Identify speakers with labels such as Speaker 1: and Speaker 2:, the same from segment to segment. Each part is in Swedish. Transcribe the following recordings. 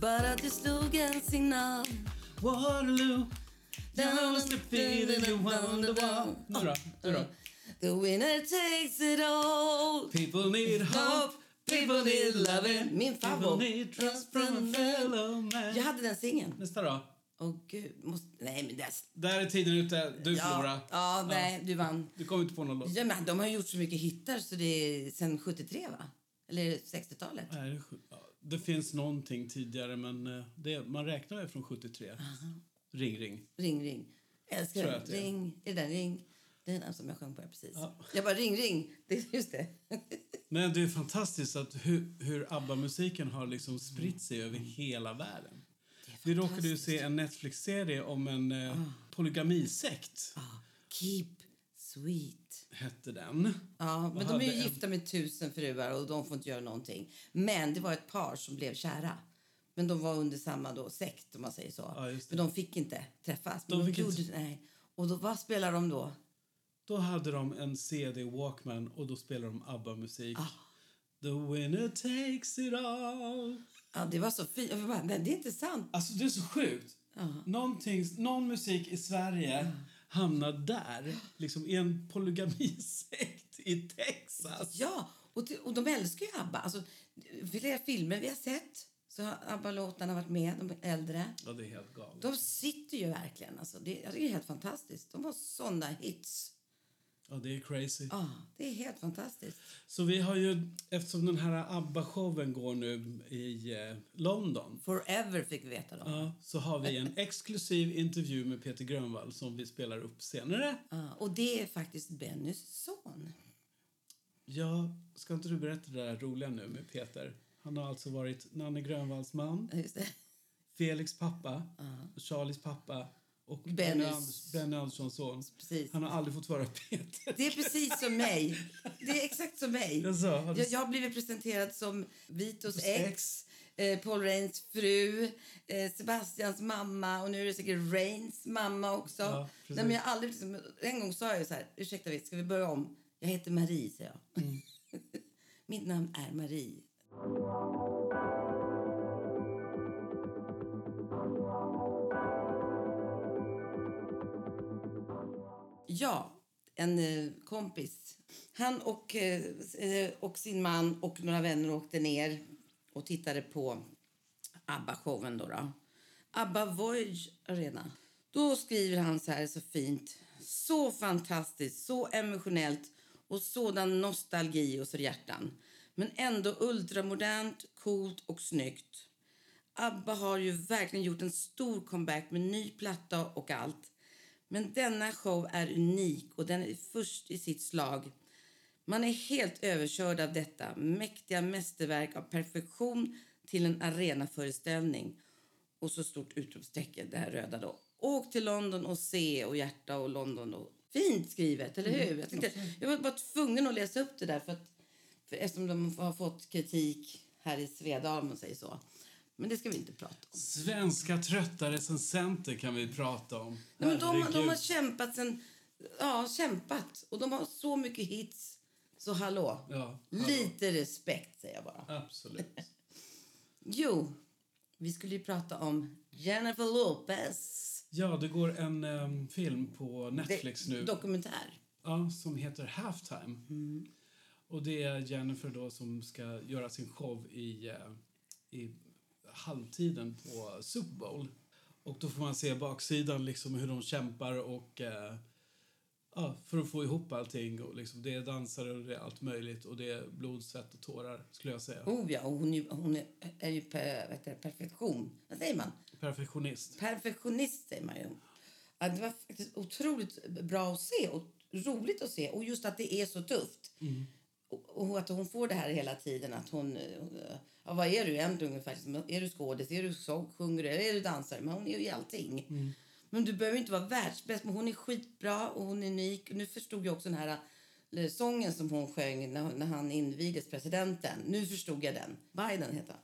Speaker 1: Bara att du slog en signal
Speaker 2: Waterloo Down is the feeling you wonder why Nu då, nu då.
Speaker 1: The winner takes it all
Speaker 2: People need hope People need loving
Speaker 1: Min
Speaker 2: People
Speaker 1: favorit.
Speaker 2: need trust from a fellow man
Speaker 1: Jag hade den singeln.
Speaker 2: Nästa då.
Speaker 1: Åh gud, måste... Nej men det...
Speaker 2: Där är tiden ute. Du förlorar.
Speaker 1: Ja, ja, nej, du vann.
Speaker 2: Du kommer inte på någon låt.
Speaker 1: Ja, men de har gjort så mycket hittar så det är sen 73 va? Eller 60-talet?
Speaker 2: Nej, det är sju- ja, Det finns någonting tidigare, men eh, det, man räknar väl från 73. Ring, ring.
Speaker 1: Ring, ring. Älskar
Speaker 2: Tror jag
Speaker 1: den.
Speaker 2: att det är.
Speaker 1: Ring. Är det den? Ring. Det är den som jag sjöng på här precis.
Speaker 2: Ja.
Speaker 1: Jag bara ring, ring. Det är just det.
Speaker 2: Men det är fantastiskt att hur, hur ABBA-musiken har liksom spritt sig över hela världen. Vi råkade ju se en Netflix-serie om en eh, polygamisekt,
Speaker 1: Ja. Keep sweet.
Speaker 2: hette den.
Speaker 1: Ja, men
Speaker 2: Vad
Speaker 1: de är
Speaker 2: hade
Speaker 1: ju
Speaker 2: en-
Speaker 1: gifta med tusen fruar och de får inte göra någonting. Men det var ett par som blev kära. Men de var under samma då, sekt om man säger så.
Speaker 2: Ja, just det.
Speaker 1: men de fick inte träffas.
Speaker 2: De
Speaker 1: Men
Speaker 2: fick inte-
Speaker 1: Nej. Och då, vad spelar de då?
Speaker 2: Då hade de en CD Walkman och då spelade de ABBA-musik. The winner takes it all.
Speaker 1: Ja, det var så fint. Jag bara, nej, det är inte sant.
Speaker 2: Alltså det är så sjukt. Någonting, någon musik i Sverige hamnar där. Liksom i en polygamisekt i Texas.
Speaker 1: Ja, och, det- och de älskar ju ABBA. Alltså, flera filmer vi har sett så har ABBA-låtarna varit med, de är äldre.
Speaker 2: Ja, det är helt galet.
Speaker 1: De sitter ju verkligen. Alltså, det, jag tycker det är helt fantastiskt. De har såna hits.
Speaker 2: Ja, det är crazy.
Speaker 1: Ja, det är helt fantastiskt.
Speaker 2: Så vi har ju, eftersom den här ABBA-showen går nu i eh, London
Speaker 1: Forever fick vi veta då.
Speaker 2: ja, så har vi en exklusiv intervju med Peter Grönvall som vi spelar upp senare.
Speaker 1: Ja, och det är faktiskt Bennys son.
Speaker 2: Ja, ska inte du berätta det där roliga nu med Peter? Han har alltså varit Nanne Grönvalls man,
Speaker 1: Ja, Just det.
Speaker 2: Felix pappa, Charlies pappa och
Speaker 1: Bennys.
Speaker 2: Benny, Anders, Benny Anderssons son.
Speaker 1: Precis.
Speaker 2: Han har aldrig fått vara Peter.
Speaker 1: Det är precis som mig. Det är exakt som mig.
Speaker 2: Jaså, har du-
Speaker 1: jag, jag har blivit presenterad som Vitos ex,
Speaker 2: ex.
Speaker 1: eh, Paul Reins fru, eh, Sebastians mamma och nu är det säkert Reins mamma också.
Speaker 2: Ja, precis.
Speaker 1: Nej, men jag har aldrig, liksom, en gång sa jag så här, ursäkta vet, ska vi börja om? Jag heter Marie, säger jag.
Speaker 2: Mm.
Speaker 1: Mitt namn är Marie. Ja, en eh, kompis. Han och, eh, s- eh, och sin man och några vänner åkte ner och tittade på ABBA-showen. Då, då. ABBA Voyage Arena. Då skriver han så här så fint. Så fantastiskt, så emotionellt och sådan nostalgi och så hjärtan. Men ändå ultramodernt, coolt och snyggt. ABBA har ju verkligen gjort en stor comeback med ny platta och allt. Men denna show är unik och den är först i sitt slag. Man är helt överkörd av detta mäktiga mästerverk av perfektion till en arenaföreställning. Och så stort utropstecken, det här röda då. Åk till London och se och hjärta och London och... Fint skrivet, eller hur? Jag, tänkte, jag var bara tvungen att läsa upp det där för att för eftersom de har fått kritik här i Svedala om man säger så. Men det ska vi inte prata om.
Speaker 2: Svenska trötta recensenter kan vi prata om.
Speaker 1: Nej, men de, de har
Speaker 2: Herregud.
Speaker 1: kämpat sen... Ja, kämpat. Och de har så mycket hits. Så hallå.
Speaker 2: Ja, hallå.
Speaker 1: Lite respekt säger jag bara.
Speaker 2: Absolut.
Speaker 1: Jo, vi skulle ju prata om Jennifer Lopez.
Speaker 2: Ja, det går en em, film på
Speaker 1: Det-
Speaker 2: Netflix nu.
Speaker 1: Dokumentär.
Speaker 2: Ja, som heter Halftime. Och det är Jennifer då som ska göra sin show i, eh, i halvtiden på Super Bowl. Och då får man se baksidan, liksom hur de kämpar och eh, ja, för att få ihop allting. Och liksom, det är dansare och det är allt möjligt och det är blod, svett och tårar skulle jag säga.
Speaker 1: Oh ja, och hon, är ju- hon är, är ju per, vad heter det, perfektion. Vad säger man?
Speaker 2: Perfektionist.
Speaker 1: Perfektionist säger man ju. Ja, det var faktiskt otroligt bra att se och roligt att se. Och just att det är så tufft. Och, och att hon får det här hela tiden. Att hon, eh, ja, vad är du egentligen ungefär? Men Är du skådis? Är du så, sjunger du? Eller är du dansare? Men hon är ju i allting. Men du behöver inte vara världsbäst. Men hon är skitbra och hon är unik. Och nu förstod jag också den här eh, sången som hon sjöng när, när han invigdes presidenten. Nu förstod jag den. Biden heter han.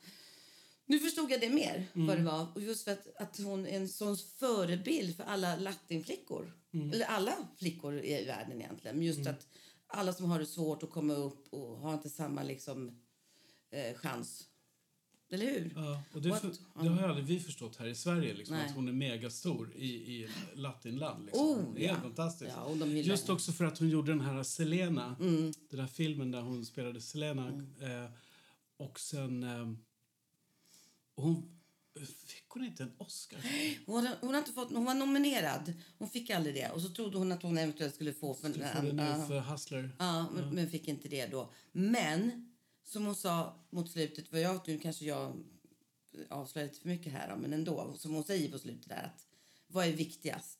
Speaker 1: Nu förstod jag det mer, vad
Speaker 2: Mm.
Speaker 1: det var. Och just för att, att hon är en sån förebild för alla latinflickor.
Speaker 2: Mm.
Speaker 1: Eller alla flickor i världen egentligen. Men just att alla som har det svårt att komma upp och har inte samma liksom, eh, chans Eller hur?
Speaker 2: Ja, och det,
Speaker 1: What?
Speaker 2: för, det har ju aldrig vi förstått här i Sverige, liksom,
Speaker 1: Nej.
Speaker 2: att hon är megastor i, i latinland. Liksom.
Speaker 1: Oh,
Speaker 2: det är helt
Speaker 1: ja.
Speaker 2: fantastiskt.
Speaker 1: Ja, och de gillar
Speaker 2: Just
Speaker 1: henne. Mm.
Speaker 2: också för att hon gjorde den här Selena, den här filmen där hon spelade Selena. Eh, och sen... Eh, hon, fick hon inte en Oscar?
Speaker 1: Hon, hade- hon, har inte fått, hon var nominerad. Hon fick aldrig det. Och så trodde hon att hon eventuellt skulle få. För,
Speaker 2: Du får det nu
Speaker 1: ja.
Speaker 2: för Hustler.
Speaker 1: Ja,
Speaker 2: Mm.
Speaker 1: men, men fick inte det då. Men som hon sa mot slutet, vad jag, nu kanske jag avslöjar lite för mycket här då, men ändå, som hon säger på slutet där att vad är viktigast?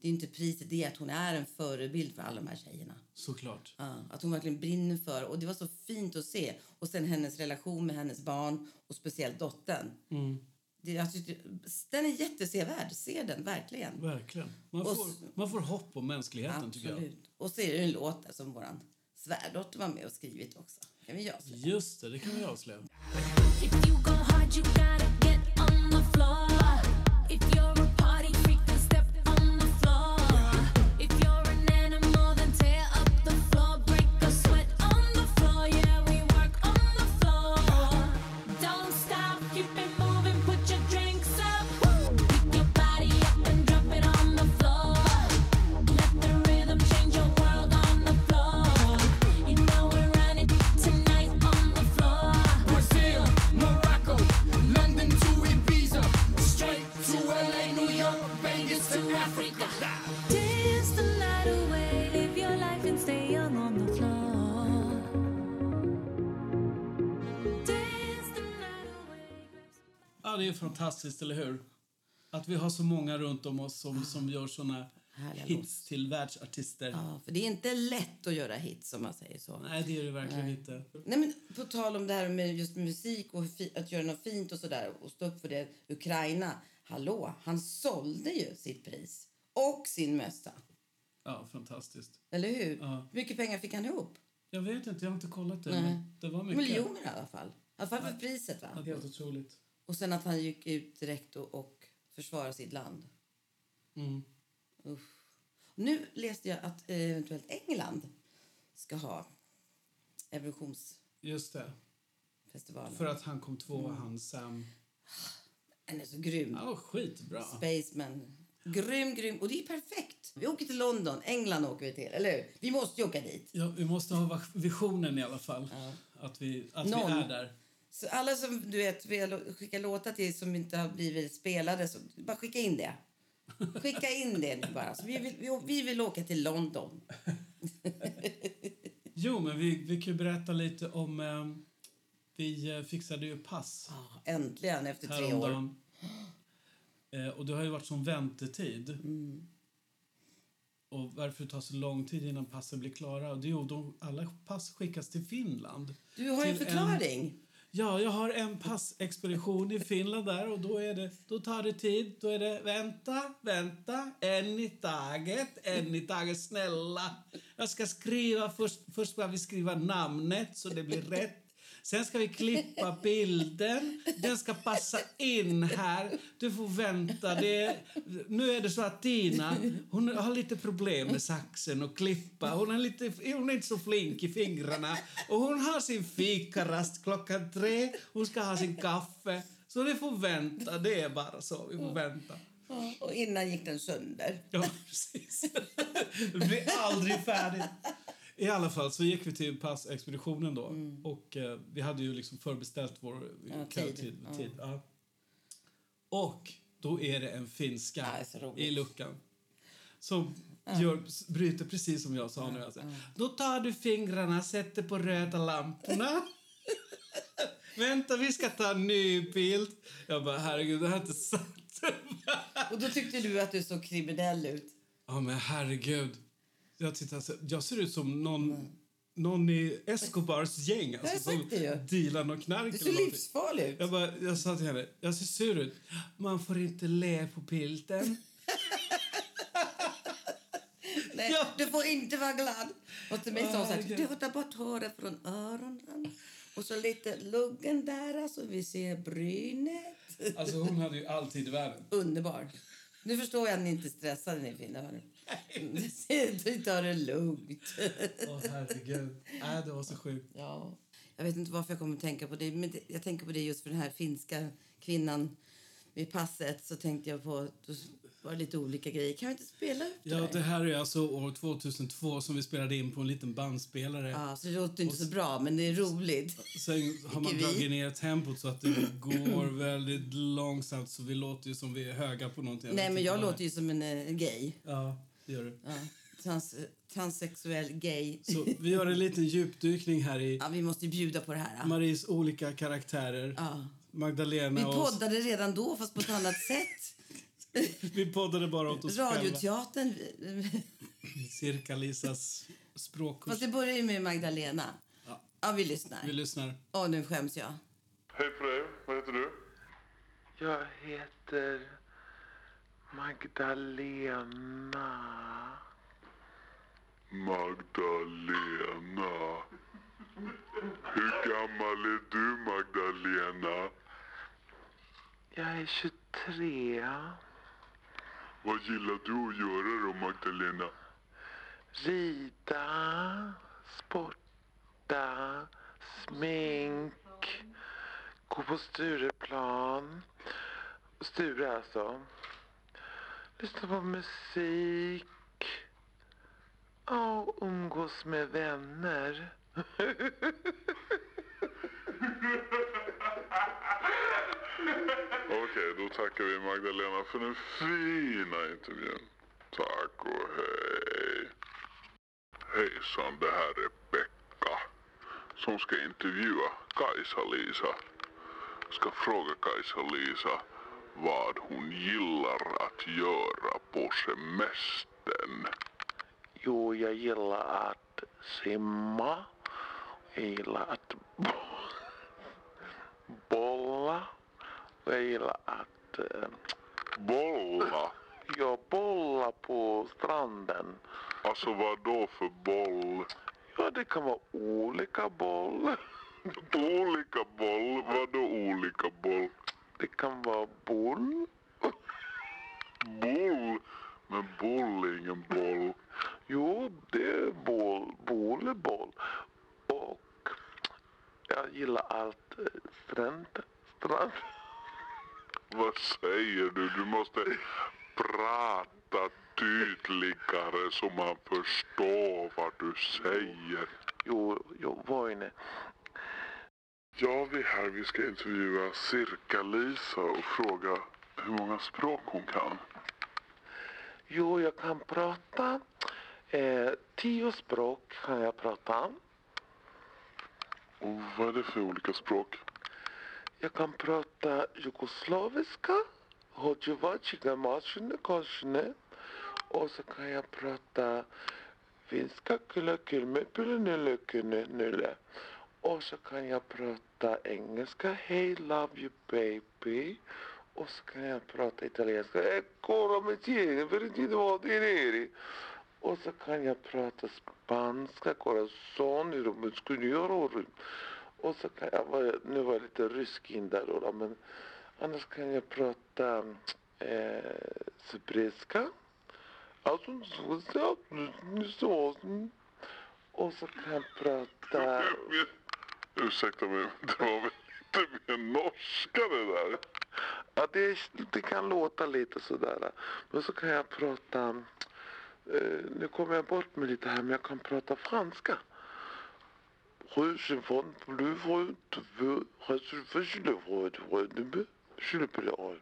Speaker 1: Det är inte priset, det är att hon är en förebild för alla de här tjejerna.
Speaker 2: Såklart.
Speaker 1: Ja, att hon verkligen brinner för och det var så fint att se. Och sen hennes relation med hennes barn och speciellt dottern.
Speaker 2: Mm.
Speaker 1: Det, jag tyckte, den är jättesevärd, se den verkligen.
Speaker 2: Verkligen. Man
Speaker 1: Och
Speaker 2: får,
Speaker 1: s-
Speaker 2: man får hopp om mänskligheten, tycker jag.
Speaker 1: Absolut. Och så är det ju en låt där som våran svärdotter var med och skrivit också. Kan vi göra så?
Speaker 2: Just det, det kan vi avslöja.
Speaker 3: If you go hard, you gotta get on the floor. If you're a party freak, then step on the floor. If you're an animal, then tear up the floor. Break a sweat on the floor. Yeah, we work on the floor. Don't stop, keep it moving, put your drinks up. Pick your body up and drop it on the floor. Let the rhythm change your world on the floor. You know we're running tonight on the floor.
Speaker 4: Brazil, Morocco, London to Ibiza, straight to LA, New York, Vegas to Africa.
Speaker 3: Dance the night away, live your life and stay young on the floor. Dance the night away.
Speaker 2: Ja, det är fantastiskt, eller hur? Att vi har så många runt om oss som, som gör såna
Speaker 1: Härliga
Speaker 2: hits till världsartister.
Speaker 1: Ja, för det är inte lätt att göra hits om man säger så.
Speaker 2: Nej, det är det verkligen inte.
Speaker 1: Nej, men på tal om det här med just musik och fi- att göra något fint och sådär och stå upp för det. Ukraina, hallå, han sålde ju sitt pris och sin mössa.
Speaker 2: Ja, fantastiskt.
Speaker 1: Eller hur?
Speaker 2: Ja.
Speaker 1: Hur mycket pengar fick han ihop?
Speaker 2: Jag vet inte, jag har inte kollat det.
Speaker 1: Nej.
Speaker 2: Men det var mycket.
Speaker 1: Miljoner i alla fall. I alla fall för priset.
Speaker 2: Ja,
Speaker 1: va?
Speaker 2: Helt otroligt.
Speaker 1: Och sen att han gick ut direkt och, och försvarade sitt land.
Speaker 2: Mm.
Speaker 1: Nu läste jag att eh, eventuellt England ska ha Eurovisionsfestivalen.
Speaker 2: Just det. För att han kom tvåa, han Sam.
Speaker 1: Den är så grym.
Speaker 2: Han var skitbra.
Speaker 1: Spaceman. Grym, grym. Och det är perfekt. Vi åker till London. England åker vi till. Eller hur? Vi måste ju åka dit.
Speaker 2: Ja, vi måste ha visionen i alla fall. Att, vi, att vi
Speaker 1: Någon.
Speaker 2: är där.
Speaker 1: Så alla som du vet vill skicka låtar till som inte har blivit spelade, så bara skicka in det. Skicka in det nu bara. Så vi, vill, vi, vi vill åka till London.
Speaker 2: Jo, men vi, vi kan ju berätta lite om... Eh, vi eh, fixade ju pass
Speaker 1: Ah, Äntligen, efter tre år.
Speaker 2: häromdagen. Eh, och det har ju varit sån väntetid.
Speaker 1: Mm.
Speaker 2: Och varför det tar så lång tid innan passen blir klara? Det är ju de, alla pass skickas till Finland.
Speaker 1: Du har ju en
Speaker 2: Till en-
Speaker 1: förklaring.
Speaker 2: Ja, jag har en passexpedition i Finland där och då, är det, då tar det tid. Då är det vänta, vänta, en i taget, en i taget, snälla. Jag ska skriva, först, först ska vi skriva namnet så det blir rätt. Sen ska vi klippa bilden. Den ska passa alltså, in här. Du får vänta. Det är, nu är det så att Tina hon har lite problem med saxen och klippa. Hon är, lite, hon är inte så flink i fingrarna. Och hon har sin fikarast klockan tre. Hon ska ha sin kaffe. Så ni får vänta. Det är bara så. Vi får vänta.
Speaker 1: Ja, Och innan gick den sönder.
Speaker 2: Ja, precis. Det blir aldrig färdigt. I alla fall så gick vi till passexpeditionen då. Och eh, vi hade ju liksom förbeställt vår
Speaker 1: Mm. Ja,
Speaker 2: tid.
Speaker 1: tid.
Speaker 2: tid,
Speaker 1: Ja.
Speaker 2: ja. Och då är det en finska
Speaker 1: Ja, det är så roligt.
Speaker 2: i luckan. Som gör, s- bryter precis som jag sa nu. Alltså. Då tar du fingrarna, sätter på röda lamporna. Vänta, vi ska ta en ny bild. Jag bara, herregud, det här är inte sant.
Speaker 1: Och då tyckte du att du såg kriminell ut.
Speaker 2: Ja, men herregud. Jag, tittar, så- jag ser ut som någon, någon i Escobars gäng.
Speaker 1: har
Speaker 2: Alltså,
Speaker 1: sagt det ju.
Speaker 2: dealar någon knark.
Speaker 1: Du
Speaker 2: eller
Speaker 1: såg
Speaker 2: någonting.
Speaker 1: livsfarlig ut.
Speaker 2: jag, bara, jag sa till henne, jag ser sur ut. Man får inte le på pilten.
Speaker 1: Nej,
Speaker 2: Ja.
Speaker 1: Du får inte vara glad. Och till mig sa hon så här,
Speaker 2: Herregud.
Speaker 1: du får ta bort håret från öronen och så lite luggen där så vi ser brynet.
Speaker 2: Alltså, hon hade ju alltid i världen.
Speaker 1: Underbar. Nu förstår jag att ni inte är stressade ni finnar. hörni. Du tar det lugnt.
Speaker 2: Åh, herregud. Äh, det var så sjukt.
Speaker 1: Ja. Jag vet inte varför jag kommer att tänka på det, men det, jag tänker på det just för den här finska kvinnan vid passet. Så tänkte jag på, då var det lite olika grejer. Kan vi inte spela ut det?
Speaker 2: Ja,
Speaker 1: där?
Speaker 2: det här är alltså år 2002 som vi spelade in på en liten bandspelare.
Speaker 1: ja så det låter inte så bra, men det är roligt.
Speaker 2: Sen har man
Speaker 1: Tycker vi.
Speaker 2: dragit ner tempot så att det går väldigt långsamt så vi låter ju som vi är höga på någonting.
Speaker 1: Nej,
Speaker 2: vet
Speaker 1: men
Speaker 2: inte
Speaker 1: jag
Speaker 2: vad det är.
Speaker 1: låter ju som en eh, gay.
Speaker 2: Ja, det gör du.
Speaker 1: Ja, trans, transsexuell gay.
Speaker 2: Så vi gör en liten djupdykning här i
Speaker 1: Ja, vi måste ju bjuda på det här. ja.
Speaker 2: Maries olika karaktärer.
Speaker 1: Ja.
Speaker 2: Magdalena
Speaker 1: Vi
Speaker 2: och...
Speaker 1: poddade redan då, fast på ett annat sätt.
Speaker 2: Vi poddade bara åt oss själva.
Speaker 1: Radioteatern...
Speaker 2: Cirka-Lisas språkkurs.
Speaker 1: Fast det börjar ju med Magdalena. Ja, vi lyssnar.
Speaker 2: Vi lyssnar.
Speaker 1: Åh, nu skäms jag.
Speaker 5: Hej på dig, vad heter du?
Speaker 6: Jag heter Magdalena.
Speaker 5: Magdalena. Hur gammal är du Magdalena?
Speaker 6: Jag är 23.
Speaker 5: Vad gillar du att göra då Magdalena?
Speaker 6: Rida, sporta, smink, gå på Stureplan. Sture alltså. Lyssna på musik. Ja, och umgås med vänner.
Speaker 5: Okej, då tackar vi Magdalena för den fina intervjun. Tack och hej. Hejsan, det här är Pekka som ska intervjua Kajsa-Lisa. Ska fråga Kajsa-Lisa vad hon gillar att göra på semestern.
Speaker 6: Jo, jag gillar att simma. Jag gillar att bo- bolla. Och jag gillar att eh,
Speaker 5: Bolla?
Speaker 6: jag bollar på stranden.
Speaker 5: Alltså vad då för boll?
Speaker 6: Ja, det kan vara olika boll.
Speaker 5: Olika boll? Vad då olika boll?
Speaker 6: Det kan vara boll.
Speaker 5: Boll? Men boll är ingen boll.
Speaker 6: Jo, det är boll. Boll är boll. Och jag gillar allt eh, strand. Strand.
Speaker 5: Vad säger du? Du måste prata tydligare så man förstår vad du säger.
Speaker 6: Jo, jo, var inne.
Speaker 5: Ja, vi är här. Vi ska intervjua Cirka-Lisa och fråga hur många språk hon kan.
Speaker 6: Jo, jag kan prata. Eh, tio språk kan jag prata.
Speaker 5: Och vad är det för olika språk?
Speaker 6: Jag kan prata jugoslaviska, hojevaciga maschine korsne. Och så kan jag prata finska, kyllä, kylme, pylle, nylle, kynne, nylle. Och så kan jag prata engelska, hey, love you baby. Och så kan jag prata italienska, e cora me tieni, per di voti neri. Och så kan jag prata spanska, corazon, i de muskuliorer. Och så kan jag, vara- nu var jag lite rysk in där då, då, men annars kan jag prata eh, cypriska. Alltså, så- så- så- så- Och så kan jag prata...
Speaker 5: Ursäkta mig, det var väl lite mer norska det där?
Speaker 6: Ja, det, det kan låta lite sådär. Men så kan jag prata... Eh, nu kommer jag bort med lite här, men jag kan prata franska. Rue, chiffon, bluvre, tuvö, resulfö, chilevre, tvö, dubö, chilipelare.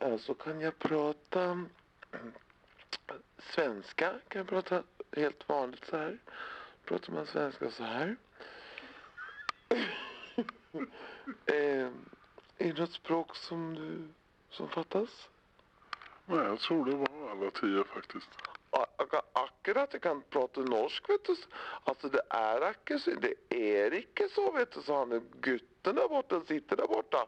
Speaker 6: Eh, Så kan jag prata svenska. Kan jag prata helt vanligt så här. Pratar man svenska så här. eh, är det något språk som, du, som fattas?
Speaker 5: Nej, jag tror det var alla tio faktiskt.
Speaker 6: Ja, Jag kan akkurat, jag kan prata norsk vet du. Alltså det är inte så, det är inte så vet du. Så han är gutten där borta, sitter där borta.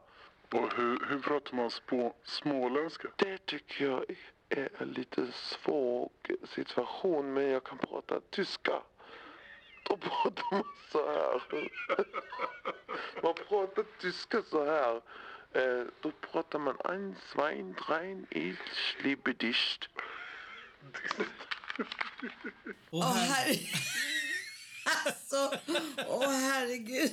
Speaker 5: Och hur, hur pratar man spå, småländska?
Speaker 6: Det tycker jag är en lite svår situation. Men jag kan prata tyska. Då pratar man så här. Man pratar tyska så här. Eh, Då pratar man ein, zwei, drei, ich liebe dich.
Speaker 2: Och
Speaker 1: Åh,
Speaker 2: här,
Speaker 1: herre... Alltså, åh herregud.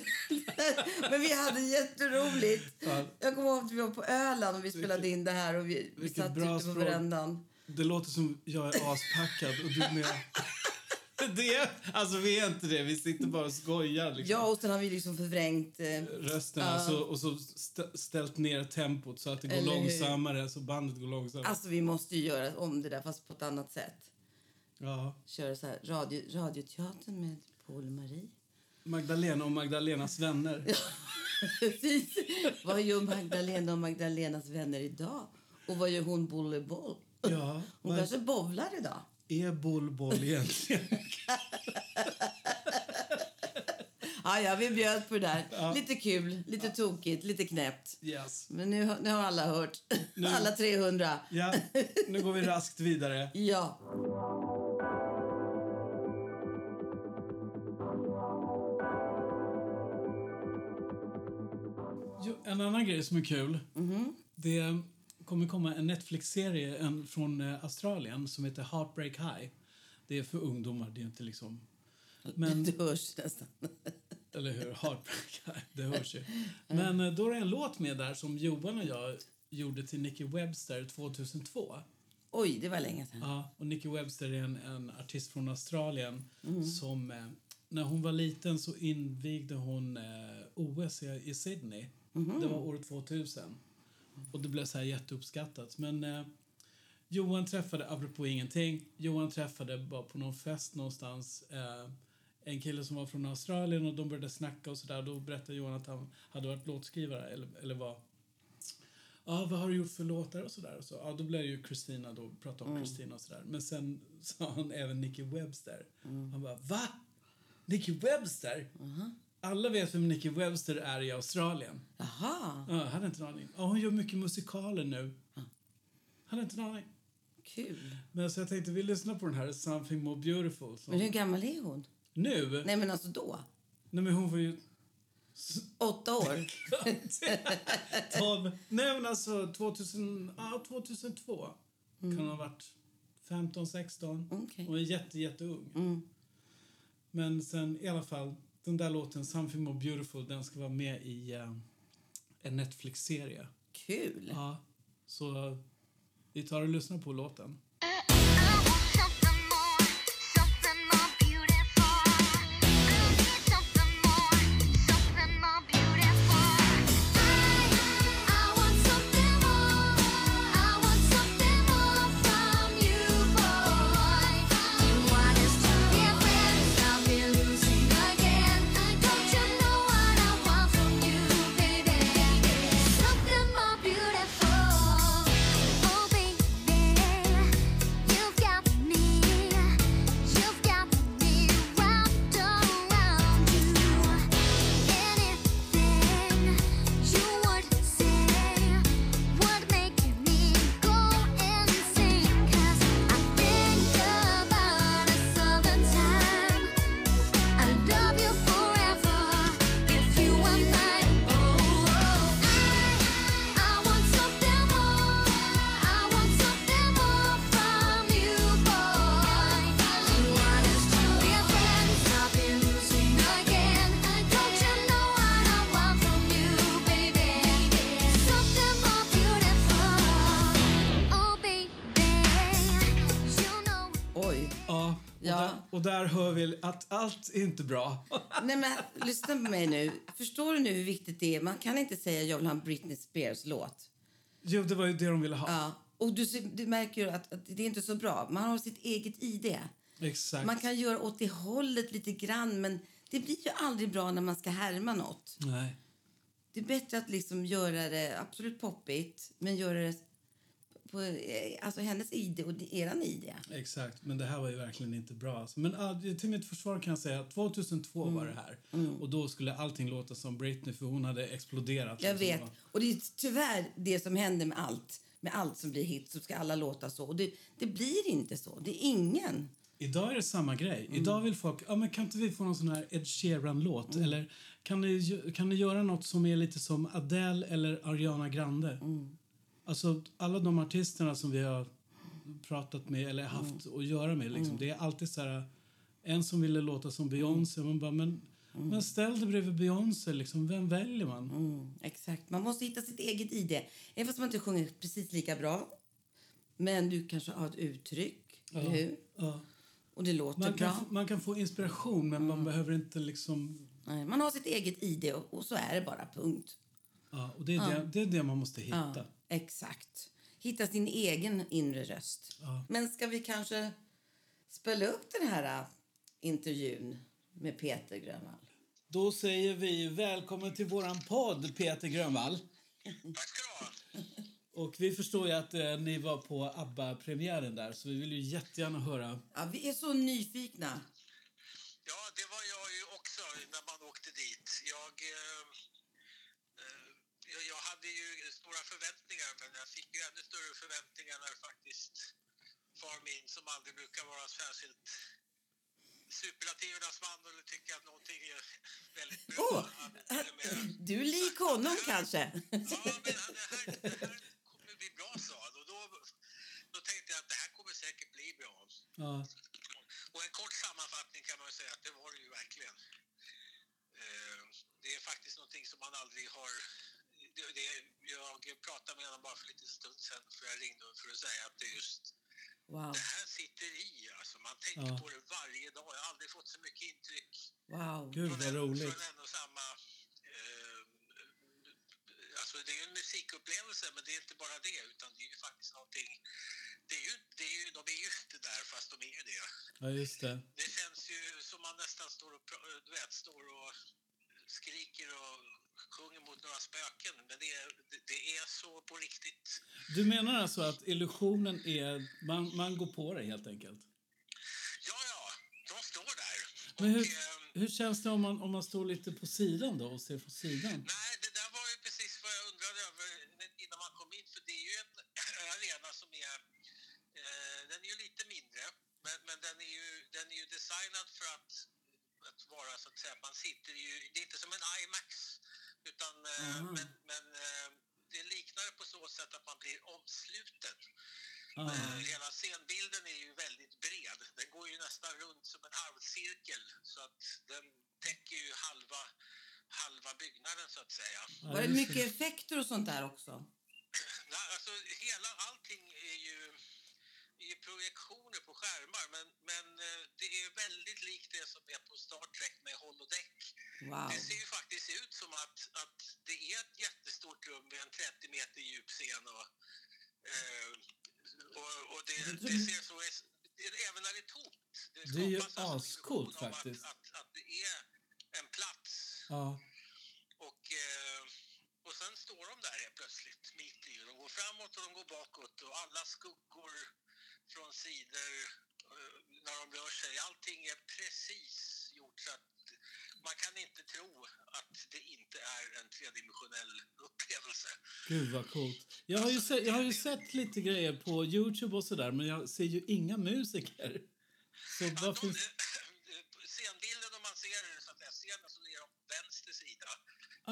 Speaker 1: Men vi hade jätteroligt.
Speaker 2: Fan.
Speaker 1: Jag kommer ihåg att vi var på Öland och vi spelade in det här och vi, vi
Speaker 2: vilket
Speaker 1: satt
Speaker 2: bra
Speaker 1: ute på
Speaker 2: språk.
Speaker 1: verandan.
Speaker 2: Det låter som jag är aspackad och du med. Det, alltså vi är inte det, vi sitter bara och skojar. Liksom.
Speaker 1: Ja, och sen har vi liksom förvrängt... Eh,
Speaker 2: Rösten och så, och så st- ställt ner tempot så att det går
Speaker 1: Eller hur?
Speaker 2: långsammare, så bandet går långsammare.
Speaker 1: alltså vi måste ju göra om det där fast på ett annat sätt.
Speaker 2: ja.
Speaker 1: Köra så här radio, radioteatern med Paul och Marie.
Speaker 2: Magdalena och Magdalenas vänner.
Speaker 1: Precis. Vad gör Magdalena och Magdalenas vänner idag? Och vad gör hon Bolleboll?
Speaker 2: Ja,
Speaker 1: Hon
Speaker 2: vad
Speaker 1: kanske bowlar idag.
Speaker 2: är bollboll egentligen?
Speaker 1: Ja, ja, vi bjöd på det där. Lite kul, lite tokigt, lite knäppt.
Speaker 2: Yes.
Speaker 1: Men nu, har- nu har alla hört.
Speaker 2: Nu-
Speaker 1: Alla 300.
Speaker 2: Ja, nu går vi raskt vidare.
Speaker 1: Ja.
Speaker 2: Jo, en annan grej som är kul. Det kommer komma en Netflix-serie en från eh, Australien som heter Heartbreak High. Det är för ungdomar, det är inte liksom... Men,
Speaker 1: Det hörs nästan.
Speaker 2: eller hur? Heartbreak High, det hörs ju. Men eh, då är det en låt med där som Johan och jag gjorde till Nicky Webster 2002.
Speaker 1: Oj, det var länge sedan.
Speaker 2: Ja, och Nicky Webster är en, en artist från Australien som... Eh, när hon var liten så invigde hon eh, OS i, i Sydney. Det var år 2000. Och det blev så här jätteuppskattat. Men eh, Johan träffade, apropå ingenting, Johan träffade bara på någon fest någonstans eh, en kille som var från Australien och de började snacka och sådär. Då berättade Johan att han hade varit låtskrivare eller, eller var Ja, vad har du gjort för låtar och sådär? Och så, ja, då blev det ju Christina då, pratade om Christina och sådär. Men sen sa han även Nicky Webster. Han bara, va? Nicky Webster? Alla vet vem Nicky Webster är i Australien.
Speaker 1: Jaha,
Speaker 2: Ja, jag hade inte en aning. Ja, hon gör mycket musikaler nu. Hade inte en aning.
Speaker 1: kul.
Speaker 2: Men så jag tänkte, vi lyssnar på den här Something More Beautiful. Som...
Speaker 1: Men hur gammal är hon?
Speaker 2: Nu? Nej.
Speaker 1: Nej, men alltså då?
Speaker 2: men hon var ju
Speaker 1: Åtta år?
Speaker 2: 12. Nej men alltså 2000, ja, 2002 kan hon ha varit 15, 16.
Speaker 1: Okej.
Speaker 2: Hon är jätte, jätteung.
Speaker 1: Mm.
Speaker 2: Men sen i alla fall, den där låten Something More Beautiful den ska vara med i eh, en Netflix-serie.
Speaker 1: Kul.
Speaker 2: Ja, så eh, vi tar och lyssnar på låten.
Speaker 7: Beautiful. You've got me, you've got me wrapped around you. Anything you would say would make me go insane. 'Cause I think about us all the time. I love you forever if you are mine. Oh, I want something more. I want something more from you, boy. You want us to be friends, I'll be losing again. Don't you know what I want from you, baby? Something more beautiful, oh baby. You know.
Speaker 1: Oj.
Speaker 2: Ja, och,
Speaker 1: Ja.
Speaker 2: Där, och där hör vi att allt är inte bra.
Speaker 1: Nej, men lyssna på mig nu. Förstår du nu hur viktigt det är? Man kan inte säga jag vill ha en Britney Spears-låt.
Speaker 2: jo, det var ju det de ville ha.
Speaker 1: Ja. Och du, ser- du märker ju att, att det är inte så bra. Man har sitt eget ID.
Speaker 2: Exakt.
Speaker 1: Man kan göra åt det hållet lite grann men det blir ju aldrig bra när man ska härma något.
Speaker 2: Nej.
Speaker 1: Det är bättre att liksom göra det absolut poppigt men göra det på eh, alltså hennes ID och det- eran ID.
Speaker 2: Exakt, men det här var ju verkligen inte bra. alltså. Men ah, till mitt försvar kan jag säga att 2002 var
Speaker 1: Mm.
Speaker 2: det här. Och då skulle allting låta som Britney för hon hade exploderat.
Speaker 1: Jag
Speaker 2: liksom.
Speaker 1: vet. Och det är tyvärr det som händer med allt. Med allt som blir hit så ska alla låta så. Och det, det blir inte så. Det är ingen.
Speaker 2: Idag är det samma grej.
Speaker 1: Mm.
Speaker 2: Idag vill folk, ja men kan inte vi få någon sån här Ed Sheeran-låt?
Speaker 1: Mm.
Speaker 2: Eller kan ni, gö- kan ni göra något som är lite som Adele eller Ariana Grande?
Speaker 1: Mm.
Speaker 2: Alltså alla de
Speaker 1: Mm.
Speaker 2: artisterna som vi har pratat med eller haft att göra med liksom, det är alltid så här En som ville låta som Beyoncé. Man bara, men, men ställ dig bredvid Beyoncé, liksom. vem väljer man?
Speaker 1: Mm, exakt. Man måste hitta sitt eget ID. Även fast man inte sjunger precis lika bra. Men du kanske har ett uttryck, eller hur?
Speaker 2: Ja.
Speaker 1: Och det låter
Speaker 2: Man,
Speaker 1: bra.
Speaker 2: kan, man kan få inspiration, men
Speaker 1: Mm.
Speaker 2: man behöver inte liksom...
Speaker 1: Nej, Man har sitt eget ID och, och så är det bara, punkt.
Speaker 2: Ja, och det, är det, det är det man måste hitta.
Speaker 1: Ja, exakt. Hitta sin egen inre röst.
Speaker 2: Ja.
Speaker 1: Men ska vi kanske spela upp den här äh, intervjun med Peter Grönvall?
Speaker 2: Då säger vi välkommen till våran podd, Peter Grönvall.
Speaker 8: Tack ska du ha.
Speaker 2: Och vi förstår ju att eh, ni var på ABBA-premiären där, så vi vill ju jättegärna höra.
Speaker 1: Ja, vi är så nyfikna.
Speaker 8: Ja, det var jag ju också när man åkte dit. Jag, eh, eh, jag- jag hade ju stora förväntningar, men jag fick ju ännu större förväntningar när faktiskt far min, som aldrig brukar vara särskilt superlativernas man, eller tycker att någonting är väldigt bra.
Speaker 1: Åh!
Speaker 8: hade till och med-
Speaker 1: Du är lik honom kanske?
Speaker 8: Ja, men det här, det här kommer bli bra, sa han. Och då, då tänkte jag att det här kommer säkert bli bra.
Speaker 2: Ja,
Speaker 8: Och en kort sammanfattning kan man ju säga att det var det ju verkligen. Eh, Det är faktiskt någonting som man aldrig har... det- det- Jag pratade med honom bara för lite stund sedan för jag ringde för att säga att det är just
Speaker 1: Wow,
Speaker 8: det här sitter i. Alltså man tänker
Speaker 2: Ja.
Speaker 8: på det varje dag. Jag har aldrig fått så mycket intryck
Speaker 1: wow.
Speaker 2: gud
Speaker 8: från
Speaker 2: vad
Speaker 8: en,
Speaker 2: roligt.
Speaker 8: från en och samma... Eh, alltså det är ju en musikupplevelse, men det är inte bara det. Utan det är ju faktiskt någonting... Det är ju, det är ju, de är ju inte där, fast de är ju det.
Speaker 2: Ja, just det.
Speaker 8: Det känns ju som man nästan står och, pra- du vet, står och skriker och sjunger mot några spöken. Men det är, det- det är så på riktigt.
Speaker 2: Du menar alltså att illusionen är... Man, man går på det helt enkelt?
Speaker 8: Ja, ja, de står där.
Speaker 2: Men
Speaker 8: och,
Speaker 2: hur,
Speaker 8: ehm,
Speaker 2: hur känns det om man, om man står lite på sidan då och ser från sidan?
Speaker 8: Nej, det där var ju precis vad jag undrade över innan man kom in. För det är ju en arena som är... Eh, den är ju lite mindre, men, men den, är ju, den är ju designad för att, att vara så att säga, man sitter ju... Det är inte som en IMAX, utan... Eh,
Speaker 1: Aha.
Speaker 8: men men eh, det liknar det på så sätt att man blir omsluten.
Speaker 2: Ah,
Speaker 8: Eh, hela scenbilden är ju väldigt bred. Den går ju nästan runt som en halvcirkel, så att den täcker ju halva halva byggnaden så att säga.
Speaker 2: ja,
Speaker 1: Var det
Speaker 2: just
Speaker 1: mycket effekter och sånt där också?
Speaker 8: Nej, alltså, hela allting är ju, är ju projektioner på skärmar men, men eh, det är väldigt likt det som är på Star Trek med holodeck.
Speaker 1: Wow.
Speaker 8: Det ser ju faktiskt ut som att, att det är ett jättestort rum med en 30 meter djup scen och, eh, och, och det, det ser så även när det är tomt.
Speaker 2: Det är ju
Speaker 8: skapas alltså
Speaker 2: ascoolt
Speaker 8: illusionen om
Speaker 2: faktiskt.
Speaker 8: Att, att, att det är en plats
Speaker 2: Ja,
Speaker 8: och, eh, och sen står de där helt plötsligt, mitt i. De går framåt och de går bakåt och alla skuggor från sidor eh, när de rör sig, allting är precis gjort så att man kan inte tro att det inte är en tredimensionell upplevelse.
Speaker 2: gud vad coolt. Jag har, ju se, jag har ju sett lite grejer på Youtube och sådär men jag ser ju inga musiker. Så
Speaker 8: Ja,
Speaker 2: vad
Speaker 8: de, eh,
Speaker 2: finns...
Speaker 8: scenbilden, om man ser så att säga, scenen, så är de på vänster sida.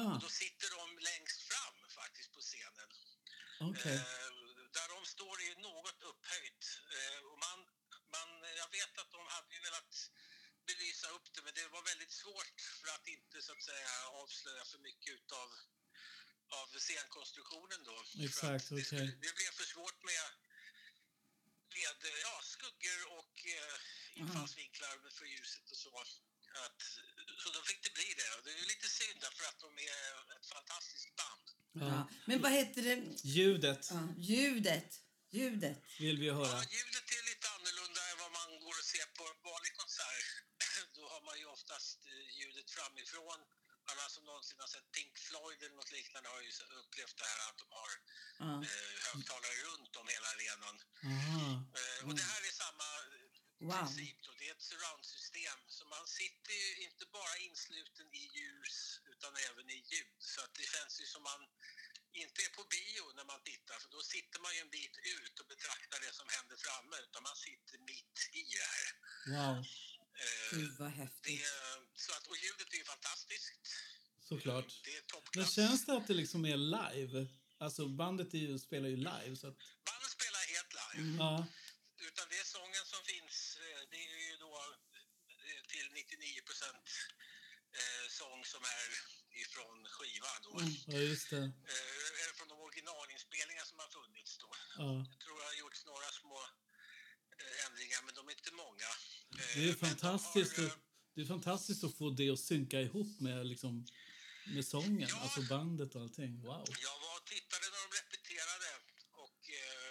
Speaker 2: Ah,
Speaker 8: Och då sitter de längst fram faktiskt på scenen.
Speaker 2: okej.
Speaker 8: Eh, där de står är ju något upphöjt. Eh, och man, man, jag vet att de hade ju velat belysa upp det, men det var väldigt svårt för att inte så att säga, avslöja för mycket utav, av scenkonstruktionen då. För att
Speaker 2: Exakt,
Speaker 8: det, skulle-
Speaker 2: okej.
Speaker 8: det blev för svårt med, med eh, ja, skuggor och eh, infallsvinklar för ljuset och så. Att, så då fick det bli det. Och det är ju lite synd därför att de är ett fantastiskt band.
Speaker 1: Ja. Men vad heter det?
Speaker 2: Ljudet
Speaker 1: Ja, ljudet. Ljudet.
Speaker 2: vill vi höra.
Speaker 8: Ja, ljudet är lite annorlunda än vad man går och ser på en vanlig konsert. Då har man ju oftast eh, ljudet framifrån. Alla som någonsin har sett Pink Floyd eller något liknande har ju s- upplevt det här att de har
Speaker 1: Ja.
Speaker 8: eh, högtalare runt om hela arenan.
Speaker 2: Aha.
Speaker 8: Eh, och det här är samma eh,
Speaker 1: Wow.
Speaker 8: princip då. Det är ett surroundsystem. Så man sitter ju inte bara insluten i ljus utan även i ljud. Så att det känns ju som man inte är på bio när man tittar för då sitter man ju en bit ut och betraktar det som händer framme utan man sitter mitt i det här.
Speaker 2: Wow,
Speaker 8: Eh,
Speaker 2: Mm.
Speaker 1: Gud, vad
Speaker 8: det,
Speaker 1: häftigt.
Speaker 8: är- så att, och ljudet är ju fantastiskt.
Speaker 2: såklart.
Speaker 8: Det är
Speaker 2: Men
Speaker 8: toppklass.
Speaker 2: känns det att det liksom är live? Alltså bandet är ju, spelar ju live så att...
Speaker 8: Bandet spelar helt live.
Speaker 2: Ja,
Speaker 8: Utan det är sången som finns. eh, Det är ju då eh, sång som är ifrån skivan då.
Speaker 2: Ja, just det.
Speaker 8: Eh, eller från de originalinspelningar som har funnits då.
Speaker 2: Ja.
Speaker 8: Jag tror jag har gjorts några små eh, ändringar, men de är inte många. Eh,
Speaker 2: Det är ju
Speaker 8: men de
Speaker 2: fantastiskt,
Speaker 8: har, eh,
Speaker 2: att, det är fantastiskt att få det att synka ihop med, liksom, med sången,
Speaker 8: Ja.
Speaker 2: alltså bandet och allting. Wow.
Speaker 8: Jag var och tittade när de repeterade och eh,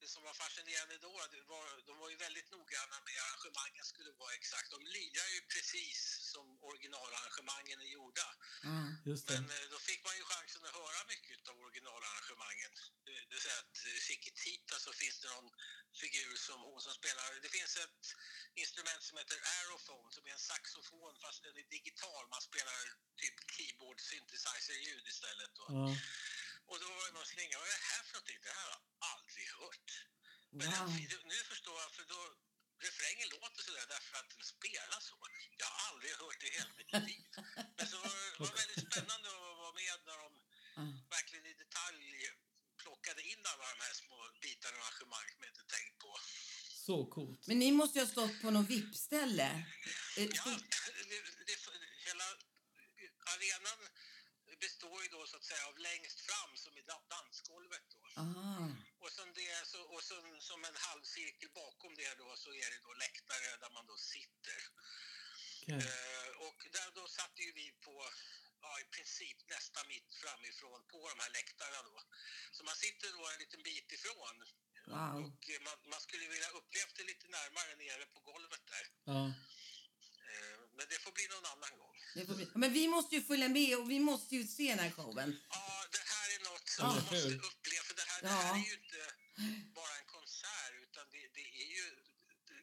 Speaker 8: det som var fascinerande då, det var, de var ju väldigt noggranna med hur arrangemangen skulle vara exakt. De lirar ju precis som originalarrangemangen är gjorda.
Speaker 1: Ja.
Speaker 2: Just
Speaker 8: Men
Speaker 2: det.
Speaker 8: eh, då fick man ju chansen att höra mycket av originalarrangemangen. Det det vill säga att eh, Chiquitita så finns det någon figur som hon som spelar. Det finns ett instrument som heter aerophone som är en saxofon fast den är digital. Man spelar typ keyboard synthesizer-ljud istället. Då.
Speaker 2: Ja.
Speaker 8: Och då var det någon slinga. Vad är det här för någonting? Det här har jag aldrig hört. Men
Speaker 1: Wow.
Speaker 8: den, nu förstår jag, för då refrängen låter sådär därför att den spelar så. Jag har aldrig hört det i hela mitt liv. Men så var det var väldigt spännande att vara med när de
Speaker 1: Ja.
Speaker 8: verkligen i detalj plockade in alla de här små bitarna och arrangemang som jag inte tänkt på.
Speaker 2: Så coolt.
Speaker 1: Men ni måste ju ha stått på något VIP-ställe. Eh,
Speaker 8: Ja,
Speaker 1: stod-
Speaker 8: det, det, hela arenan består ju då så att säga av längst fram som i da- dansgolvet då.
Speaker 1: Aha.
Speaker 8: Och, sen det, så, och sen, som en halvcirkel bakom det då så är det då läktare där man då sitter.
Speaker 2: Okej.
Speaker 8: Eh, och där då satt ju vi på ja, i princip nästan mitt framifrån på de här läktarna då. Så man sitter då en liten bit ifrån
Speaker 1: Wow.
Speaker 8: och eh, man, man skulle vilja upplevt det lite närmare nere på golvet där.
Speaker 2: Ja.
Speaker 8: Eh, men det får bli någon annan gång.
Speaker 1: Det får bli- Men vi måste ju följa med och vi måste ju se den här showen.
Speaker 8: Ja, det här är något som
Speaker 2: Ja,
Speaker 8: man
Speaker 2: eller
Speaker 8: måste
Speaker 2: hur?
Speaker 8: uppleva. För det här, det här
Speaker 1: Ja.
Speaker 8: är ju inte bara en konsert, utan det, det är ju...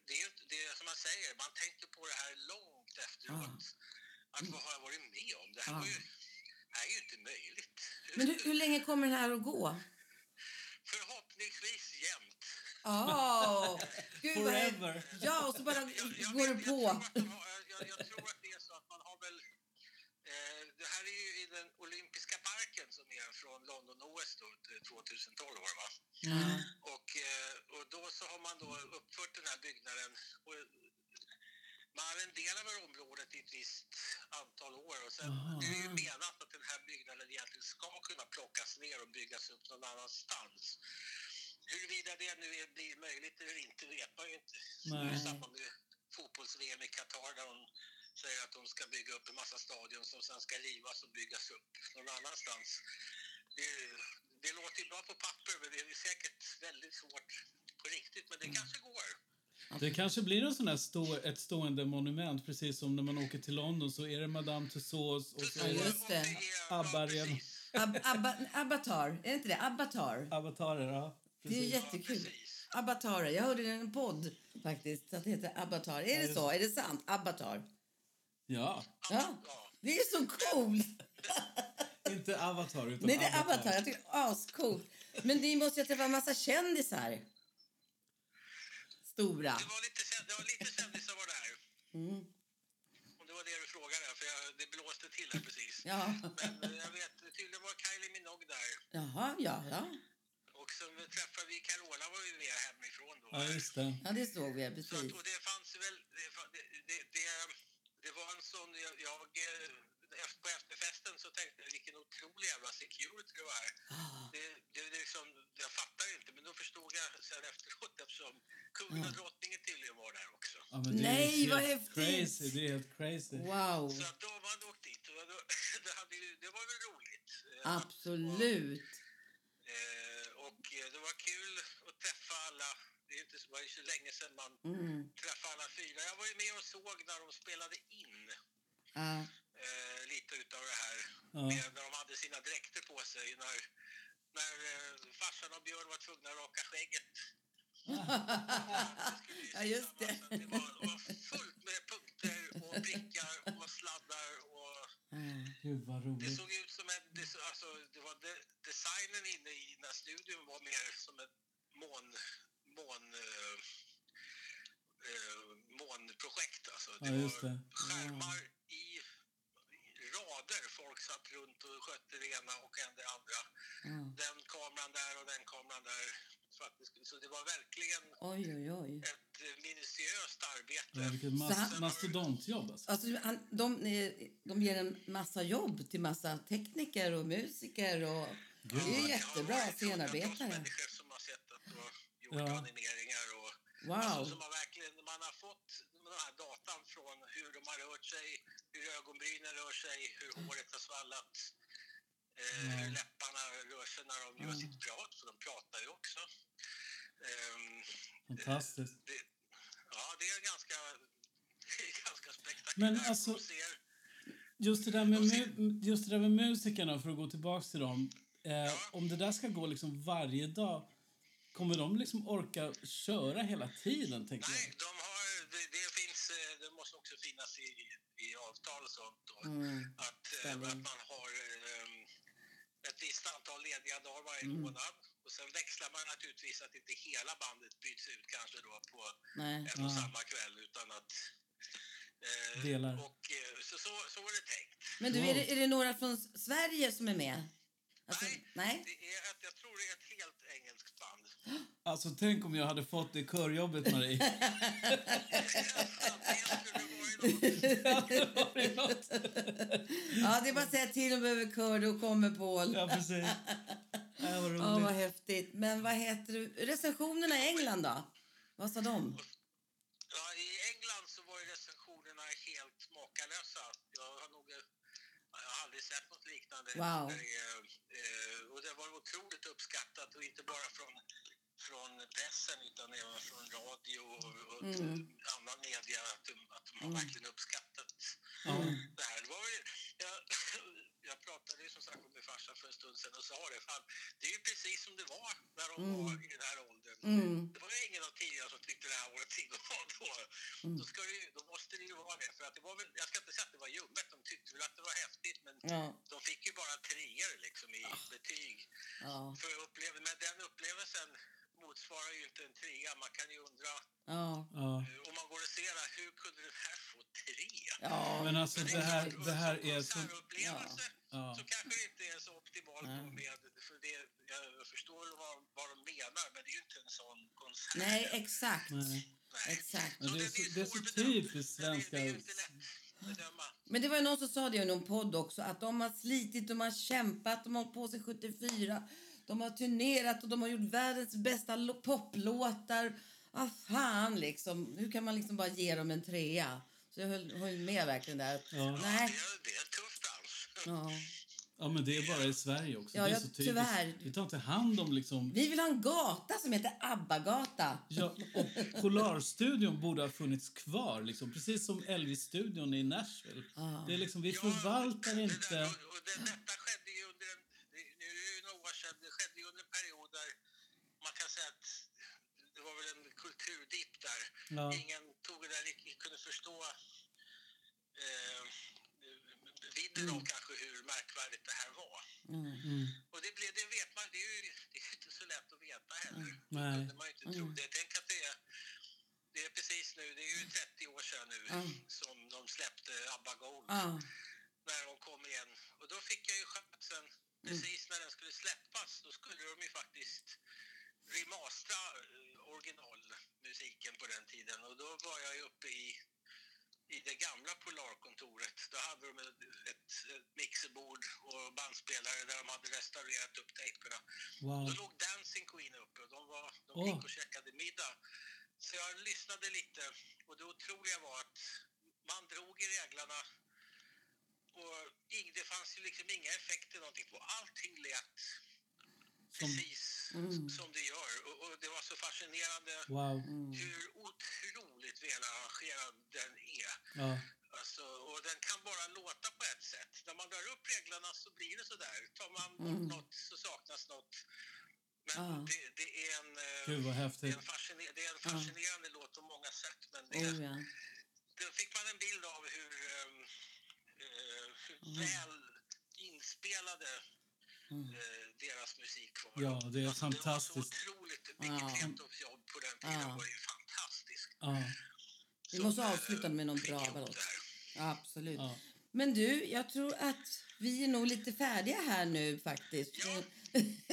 Speaker 8: Det är, ju inte- det är som man säger, man tänker på det här långt efteråt. Att vad har jag varit med om? Det här,
Speaker 1: Ja.
Speaker 8: var ju, det här är ju inte möjligt.
Speaker 1: Men hur, hur länge kommer den här att gå?
Speaker 8: Förhoppningsvis jämt.
Speaker 1: Oh, gud vad häftigt.
Speaker 2: Forever.
Speaker 1: Ja, och så bara
Speaker 8: Jag, jag,
Speaker 1: går du
Speaker 8: vet- Jag
Speaker 1: på.
Speaker 8: tror, att de har, jag, jag tror att det är så att man har väl... Eh, det här är ju i den olympiska parken som är från London-OS då, 2012 var det va?
Speaker 1: Ja.
Speaker 8: Och, eh, och då så har man då uppfört den här byggnaden. Och eh, man arrenderar väl området i ett visst antal år. Och sen,
Speaker 2: Aha.
Speaker 8: det är ju menat att den här byggnaden egentligen ska kunna plockas ner och byggas upp någon annanstans. Huruvida det nu är, blir möjligt eller inte vet man ju inte. Så det är
Speaker 2: Nej.
Speaker 8: samma med fotbolls-VM i Qatar där de säger att de ska bygga upp en massa stadion som sen ska rivas och byggas upp någon annanstans. Det, det låter ju bra på papper, men det är ju säkert väldigt svårt på riktigt. Men det
Speaker 1: Mm.
Speaker 8: kanske går.
Speaker 2: Det kanske blir en sån här stå, ett stående monument, precis som när man åker till London så är det Madame Tussauds och så är det
Speaker 1: just det.
Speaker 2: Abba
Speaker 8: Ja,
Speaker 2: igen.
Speaker 8: precis.
Speaker 1: Ab Abba Avatar, är det inte det? Avatar.
Speaker 2: avatarer. Ja.
Speaker 1: Det är ju
Speaker 2: Precis.
Speaker 1: jättekul.
Speaker 8: Ja, precis.
Speaker 1: Avatar, jag hörde det i en podd faktiskt. Att det heter Avatar. Är det så? Är det sant? Avatar.
Speaker 2: Ja,
Speaker 1: Ja. Det är så coolt!
Speaker 2: inte avatar utan
Speaker 1: Nej, det är Avatar. Jag tycker det är ascoolt. Men ni måste ju träffa en massa kändisar. Stora.
Speaker 8: Det var lite, känd- det var lite kändisar var där.
Speaker 1: Mm.
Speaker 8: Om det var det du frågade, för jag, det blåste till här precis.
Speaker 1: Ja.
Speaker 8: Men eh, jag vet, tydligen var Kylie Minogue där.
Speaker 1: Jaha, ja, ja.
Speaker 8: Och så träffade vi Carola var vi med hemifrån då.
Speaker 2: Ja, just det.
Speaker 1: Ja, det såg vi.
Speaker 8: Så att,
Speaker 1: Precis.
Speaker 8: och det fanns väl... Det, fa- det, det, det, det var en sån... Jag, jag, eh, efter- på efterfesten så tänkte jag vilken otrolig jävla security det var. Det, det, det liksom, jag fattar inte, men då förstod jag sen efteråt eftersom kungen och drottningen tydligen var där också.
Speaker 2: Ja, men det
Speaker 1: Nej,
Speaker 2: är helt
Speaker 1: vad häftigt.
Speaker 2: Crazy. Det är helt crazy.
Speaker 1: Wow.
Speaker 8: Så att då har man åkt dit. Och då, det, hade ju, det var väl roligt. Eh,
Speaker 1: Absolut.
Speaker 8: Eh, och eh, det var kul att träffa alla. Det är inte så, det var ju så länge sedan man
Speaker 1: Mm.
Speaker 8: träffade alla fyra. Jag var ju med och såg när de spelade in
Speaker 1: Ja.
Speaker 8: eh, lite utav det här.
Speaker 2: Ja.
Speaker 8: Med, när de hade sina dräkter på sig. När, när eh, farsan och Björn var tvungna att raka skägget. skulle ju
Speaker 1: Ja, just det.
Speaker 8: sitta en massa- var, det var fullt med punkter och prickar och sladdar. Och
Speaker 2: Gud, vad
Speaker 8: det
Speaker 2: roligt.
Speaker 8: såg ut som en... Det, så- alltså, det var de, designen inne i den här studion var mer som ett mån... mån eh, eh, månprojekt alltså. Det
Speaker 2: Ja, just
Speaker 8: var
Speaker 2: det.
Speaker 8: skärmar i i rader. Folk satt runt och skötte det ena och en det andra.
Speaker 1: Ja.
Speaker 8: Den kameran där och den kameran där. Så, att det, skulle- så det var verkligen
Speaker 1: Oj, oj, oj.
Speaker 8: ett eh, minutiöst arbete.
Speaker 2: Ja, vilket
Speaker 1: Så
Speaker 2: mas-
Speaker 1: han-
Speaker 2: mastodontjobb alltså.
Speaker 1: Alltså, han, de, eh, de ger en massa jobb till massa tekniker och musiker. Och, det är ju jättebra scenarbetare.
Speaker 8: människor som har sett att du har gjort
Speaker 2: Ja.
Speaker 8: animeringar och alltså,
Speaker 1: Wow!
Speaker 8: som har verkligen, man har fått den här datan från hur de har rört sig, hur ögonbrynen rör sig, hur håret har svallat, eh, hur läpparna rör sig när de gör sitt prat, för de pratar ju också. Ehm,
Speaker 2: Fantastiskt.
Speaker 8: det, ja, det är ganska, det är ganska spektakulärt.
Speaker 2: alltså-
Speaker 8: de ser,
Speaker 2: Just det där med, mu- just det där med musikerna, för att gå tillbaka till dem. Eh, om det där ska gå liksom varje dag, kommer de liksom orka köra hela tiden? Tänker
Speaker 8: Nej,
Speaker 2: jag.
Speaker 8: de har, det, det finns, eh, det måste också finnas i, i avtal och sånt.
Speaker 1: Mm.
Speaker 8: Och att, eh,
Speaker 1: stämmer.
Speaker 8: att man har eh, ett visst antal lediga dagar varje
Speaker 2: Mm.
Speaker 8: månad. Och sen växlar man naturligtvis att inte hela bandet byts ut kanske då på
Speaker 1: Nej.
Speaker 8: en och
Speaker 2: Ja.
Speaker 8: samma kväll utan att... eh,
Speaker 2: Delar.
Speaker 8: Och, eh, så, så, så är det tänkt.
Speaker 1: Men du, är det, är det några från Sverige som är med? Alltså,
Speaker 8: Nej.
Speaker 1: nej?
Speaker 8: Det är att, jag tror det är ett helt engelskt band.
Speaker 2: Alltså, tänk om jag hade fått det körjobbet, Marie.
Speaker 8: det skulle vara ju något.
Speaker 1: Ja, det är bara att säga till om du behöver kör, då kommer Paul.
Speaker 2: ja, precis. Ja, vad
Speaker 1: Ja, vad
Speaker 2: roligt.
Speaker 1: häftigt. Men vad heter du? Recensionerna i England då? Vad sa de?
Speaker 8: Ja, I England så var ju recensionerna helt makalösa. Jag har nog eh, jag har aldrig sett något liknande.
Speaker 1: Wow.
Speaker 8: Där det är, eh, och det var otroligt uppskattat och inte bara från, från pressen utan även från radio och, och annan media att de, att de har verkligen uppskattat
Speaker 2: Ja.
Speaker 8: det här. Det var ju, jag, jag pratade ju som sagt med min farsa för en stund sedan och sa det. Fan, det är ju precis som det var när de var i den här åldern.
Speaker 1: Mm,
Speaker 8: Det var ju ingen av tidigare som tyckte det här var ett ting att ha då.
Speaker 2: Mm.
Speaker 8: Då, ska det, ju- då måste det ju vara det. För att det var väl, jag ska inte säga att det var ljummet. De tyckte väl att det var häftigt. Men
Speaker 1: Ja.
Speaker 8: de fick ju bara treor liksom i
Speaker 2: Ah.
Speaker 8: betyg.
Speaker 1: Ja.
Speaker 8: För upplev, men den upplevelsen motsvarar ju inte en trea. Man kan ju undra,
Speaker 1: Ja.
Speaker 2: Ja.
Speaker 8: eh, om man går och ser det, hur kunde den här få trea?
Speaker 1: ja.
Speaker 2: Men alltså, det här, det här är så...
Speaker 8: så... upplevelse
Speaker 2: Ja.
Speaker 8: så kanske det inte är så optimalt med... För det, jag förstår vad, vad de menar, men det är ju inte en sån konsert.
Speaker 1: Nej, exakt.
Speaker 2: Nej.
Speaker 8: Nej.
Speaker 1: Exakt.
Speaker 2: Men det är
Speaker 8: den
Speaker 2: så, det är så
Speaker 8: svårbedömd.
Speaker 2: typiskt
Speaker 8: Den är-
Speaker 2: svenska.
Speaker 8: Det är ju inte lätt att bedöma.
Speaker 1: Men det var ju någon som sa det i någon podd också, att de har slitit, de har kämpat, de har hållit på sig 74, de har turnerat och de har gjort världens bästa lo- poplåtar. Vad ah, fan liksom, hur kan man liksom bara ge dem en trea? Så jag höll, höll med verkligen där.
Speaker 2: Ja.
Speaker 1: Nej.
Speaker 8: Det är, det är en tuff bransch.
Speaker 1: Ja.
Speaker 2: Ja, men det är bara i Sverige också.
Speaker 1: Ja,
Speaker 2: det är
Speaker 1: ja,
Speaker 2: så typiskt.
Speaker 1: tyvärr.
Speaker 2: Vi tar inte hand om liksom...
Speaker 1: Vi vill ha en gata som heter Abbagata.
Speaker 2: Ja, och Polarstudion borde ha funnits kvar, liksom. precis som Elvis-studion i Nashville. Det är liksom, vi förvaltar
Speaker 8: det
Speaker 2: inte...
Speaker 8: Där, och, och det, detta skedde ju under en, det- nu är det ju några år sedan, det skedde ju under en period där man kan säga att det var väl en kulturdipp där.
Speaker 2: Ja.
Speaker 8: Ingen tog det där riktigt, kunde förstå eh, vidden
Speaker 2: Mm.
Speaker 8: av kanske hur märkvärdigt det här var. Och det, blev, det vet man, det är ju det är ju inte så lätt att veta heller.
Speaker 2: Nej.
Speaker 8: Det man ju inte tro. Det, tänk att det är, det är precis nu, det är ju 30 år sedan nu som de släppte ABBA Gold
Speaker 1: Ja.
Speaker 8: när de kom igen. Och då fick jag ju chansen precis när den skulle släppas. Då skulle de ju faktiskt remastera eh, originalmusiken på den tiden. Och då var jag ju uppe i, i det gamla Polarkontoret. Då hade de ett, ett, ett mixerbord och bandspelare där de hade restaurerat upp tejperna.
Speaker 2: Wow.
Speaker 8: Då låg Dancing Queen uppe och de, var, de
Speaker 2: Åh.
Speaker 8: gick och käkade middag. Så jag lyssnade lite och det otroliga var att man drog i reglarna och ing- det fanns ju liksom inga effekter någonting på. Allting lät precis som det gör och, och det var så fascinerande
Speaker 2: Wow.
Speaker 1: Mm.
Speaker 8: hur otroligt välarrangerad den är.
Speaker 2: Ja.
Speaker 8: Alltså, och den kan bara låta på ett sätt. När man drar upp reglerna så blir det så där. Tar man bort
Speaker 1: Mm.
Speaker 8: något så saknas något. Men det, det är en, eh,
Speaker 2: Gud, vad
Speaker 8: det är
Speaker 2: häftigt.
Speaker 8: en, fasciner- det är en fascinerande låt på många sätt. Men det,
Speaker 1: Oh, ja.
Speaker 8: då fick man en bild av hur, ehm, eh, hur väl inspelade
Speaker 1: Mm.
Speaker 8: eh, deras musik var.
Speaker 2: Ja, det är fantastiskt.
Speaker 8: Det var så otroligt. Vilket
Speaker 1: Ja.
Speaker 8: Retofs jobb på den tiden
Speaker 1: Ja.
Speaker 8: var ju fantastiskt.
Speaker 2: Ja.
Speaker 1: Vi
Speaker 8: Som,
Speaker 1: måste
Speaker 8: eh,
Speaker 1: avsluta med någon
Speaker 8: fick
Speaker 1: bra
Speaker 8: ihop
Speaker 1: låt.
Speaker 8: det här.
Speaker 1: Ja, absolut.
Speaker 2: Ja.
Speaker 1: Men du, jag tror att vi är nog lite färdiga här nu faktiskt.
Speaker 8: Ja.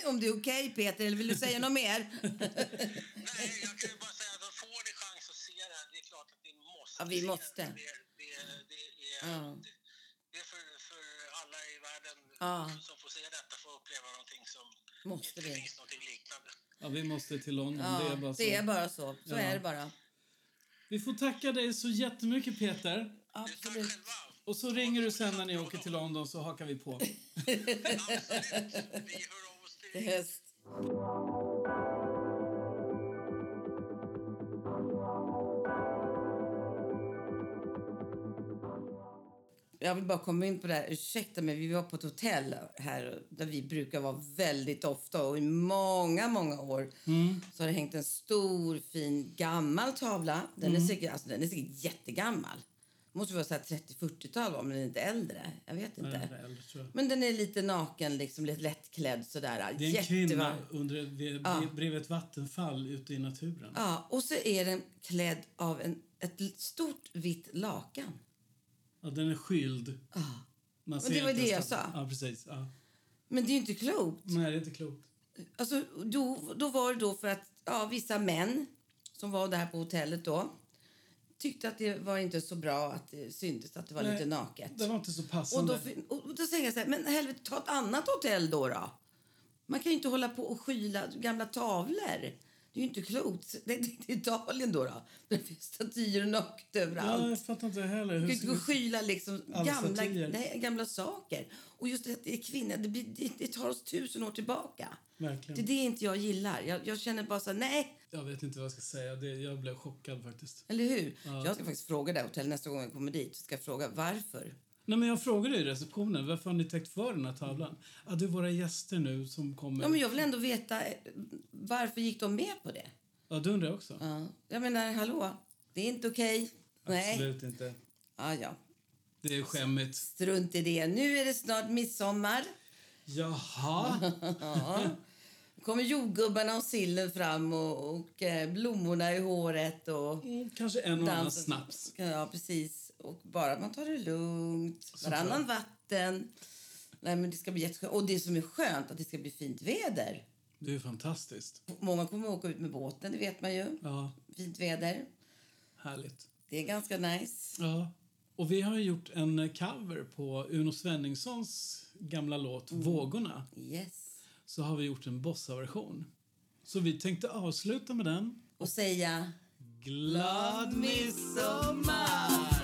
Speaker 1: Om det är okej Peter, eller vill du säga något mer?
Speaker 8: Nej, jag kan ju bara säga att de får ni chans att se
Speaker 1: Ja, vi måste.
Speaker 8: Det, är- det, är- det, är-
Speaker 1: Ja.
Speaker 8: det, det är för, för alla i världen
Speaker 1: Ja.
Speaker 8: som får se detta får uppleva någonting som
Speaker 1: Måste
Speaker 8: inte
Speaker 1: vi.
Speaker 8: finns någonting liknande.
Speaker 2: Ja, vi måste till London. det är bara
Speaker 1: Ja,
Speaker 2: så.
Speaker 1: det är bara så. Så
Speaker 2: Ja.
Speaker 1: är det bara.
Speaker 2: Vi får tacka dig så jättemycket, Peter.
Speaker 8: Tack
Speaker 1: Absolut.
Speaker 8: själva!
Speaker 2: Och så ringer du sen när ni åker till London så hakar vi på.
Speaker 8: Absolut! Vi hör av oss
Speaker 1: Det är
Speaker 8: till
Speaker 1: höst. Jag vill bara komma in på det här. Ursäkta mig, vi var på ett hotell här där vi brukar vara väldigt ofta och i många, många år så har det hängt en stor fin gammal tavla. Den, är, säkert, alltså, den är säkert jättegammal. Måste vara så här 30-40-tal om den är inte äldre. Jag vet inte.
Speaker 2: Nej, väl, tror jag.
Speaker 1: Men den är lite naken, liksom, lite lättklädd. Sådär.
Speaker 2: Det är en
Speaker 1: Jättevarm.
Speaker 2: kvinna under, vid, bredvid ett vattenfall ute i naturen.
Speaker 1: Ja, och så är den klädd av en, ett l- stort vitt lakan.
Speaker 2: Ja, den är skyld. Man
Speaker 1: det var
Speaker 2: inte
Speaker 1: det jag
Speaker 2: ens den.
Speaker 1: sa.
Speaker 2: Ja, precis. Ja.
Speaker 1: Men det är ju inte klokt.
Speaker 2: Nej, det är inte klokt.
Speaker 1: Alltså, då, då var det då för att ja, vissa män som var där på hotellet då tyckte att det var inte så bra att det syntes att det var
Speaker 2: Nej,
Speaker 1: lite naket.
Speaker 2: Det var inte så
Speaker 1: Och
Speaker 2: passande.
Speaker 1: då, fin- och och då säger jag så här, men helvete, ta ett annat hotell då. då. Man kan ju inte hålla på och skyla gamla tavlor. Det är ju inte klokt. Det det- det är Italien då. då. Där finns statyer naket överallt.
Speaker 2: ja, jag fattar inte heller.
Speaker 1: Du
Speaker 2: Hur
Speaker 1: kan inte gå och
Speaker 2: ska...
Speaker 1: skyla liksom
Speaker 2: Alla
Speaker 1: gamla,
Speaker 2: statyer.
Speaker 1: nej, gamla saker. Och just det att det är kvinnor, det, blir, det, det tar oss tusen år tillbaka. Det är
Speaker 2: Verkligen.
Speaker 1: det inte jag gillar. Jag, jag känner bara så här, nej,
Speaker 2: Jag vet inte vad jag ska säga. Det, jag blev chockad faktiskt.
Speaker 1: eller hur? Jag ska faktiskt fråga det här hotellet nästa gång jag kommer dit. Ska jag fråga varför?
Speaker 2: Nej, men jag frågade i receptionen varför har ni täckt för den här tavlan. Ja, det är våra gäster nu som kommer.
Speaker 1: Ja, men jag vill ändå veta eh, varför gick de med på det?
Speaker 2: Ja, det undrar jag också.
Speaker 1: Ja. Jag menar, hallå, det är inte okej. Nej.
Speaker 2: Absolut inte.
Speaker 1: Ja, ja.
Speaker 2: Det är skämmigt.
Speaker 1: Strunt i det. Nu är det snart midsommar.
Speaker 2: Jaha.
Speaker 1: Då kommer jordgubbarna och sillen fram och, och eh, blommorna i håret. Och...
Speaker 2: Mm, Kanske en och annan
Speaker 1: Dansen.
Speaker 2: snaps.
Speaker 1: Ja, precis. Och bara man tar det lugnt, varannan vatten. Nej, men det ska bli jätteskönt. Och det som är skönt att det ska bli fint väder.
Speaker 2: Det är ju fantastiskt.
Speaker 1: Många kommer att åka ut med båten, det vet man ju.
Speaker 2: Ja,
Speaker 1: Fint väder.
Speaker 2: härligt.
Speaker 1: Det är ganska nice.
Speaker 2: Ja. Och vi har ju gjort en eh, cover på Uno Svenningssons gamla låt
Speaker 1: Mm.
Speaker 2: Vågorna.
Speaker 1: Yes.
Speaker 2: Så har vi gjort en bossaversion. Så vi tänkte avsluta med den.
Speaker 1: Och säga...
Speaker 2: Glad midsommar!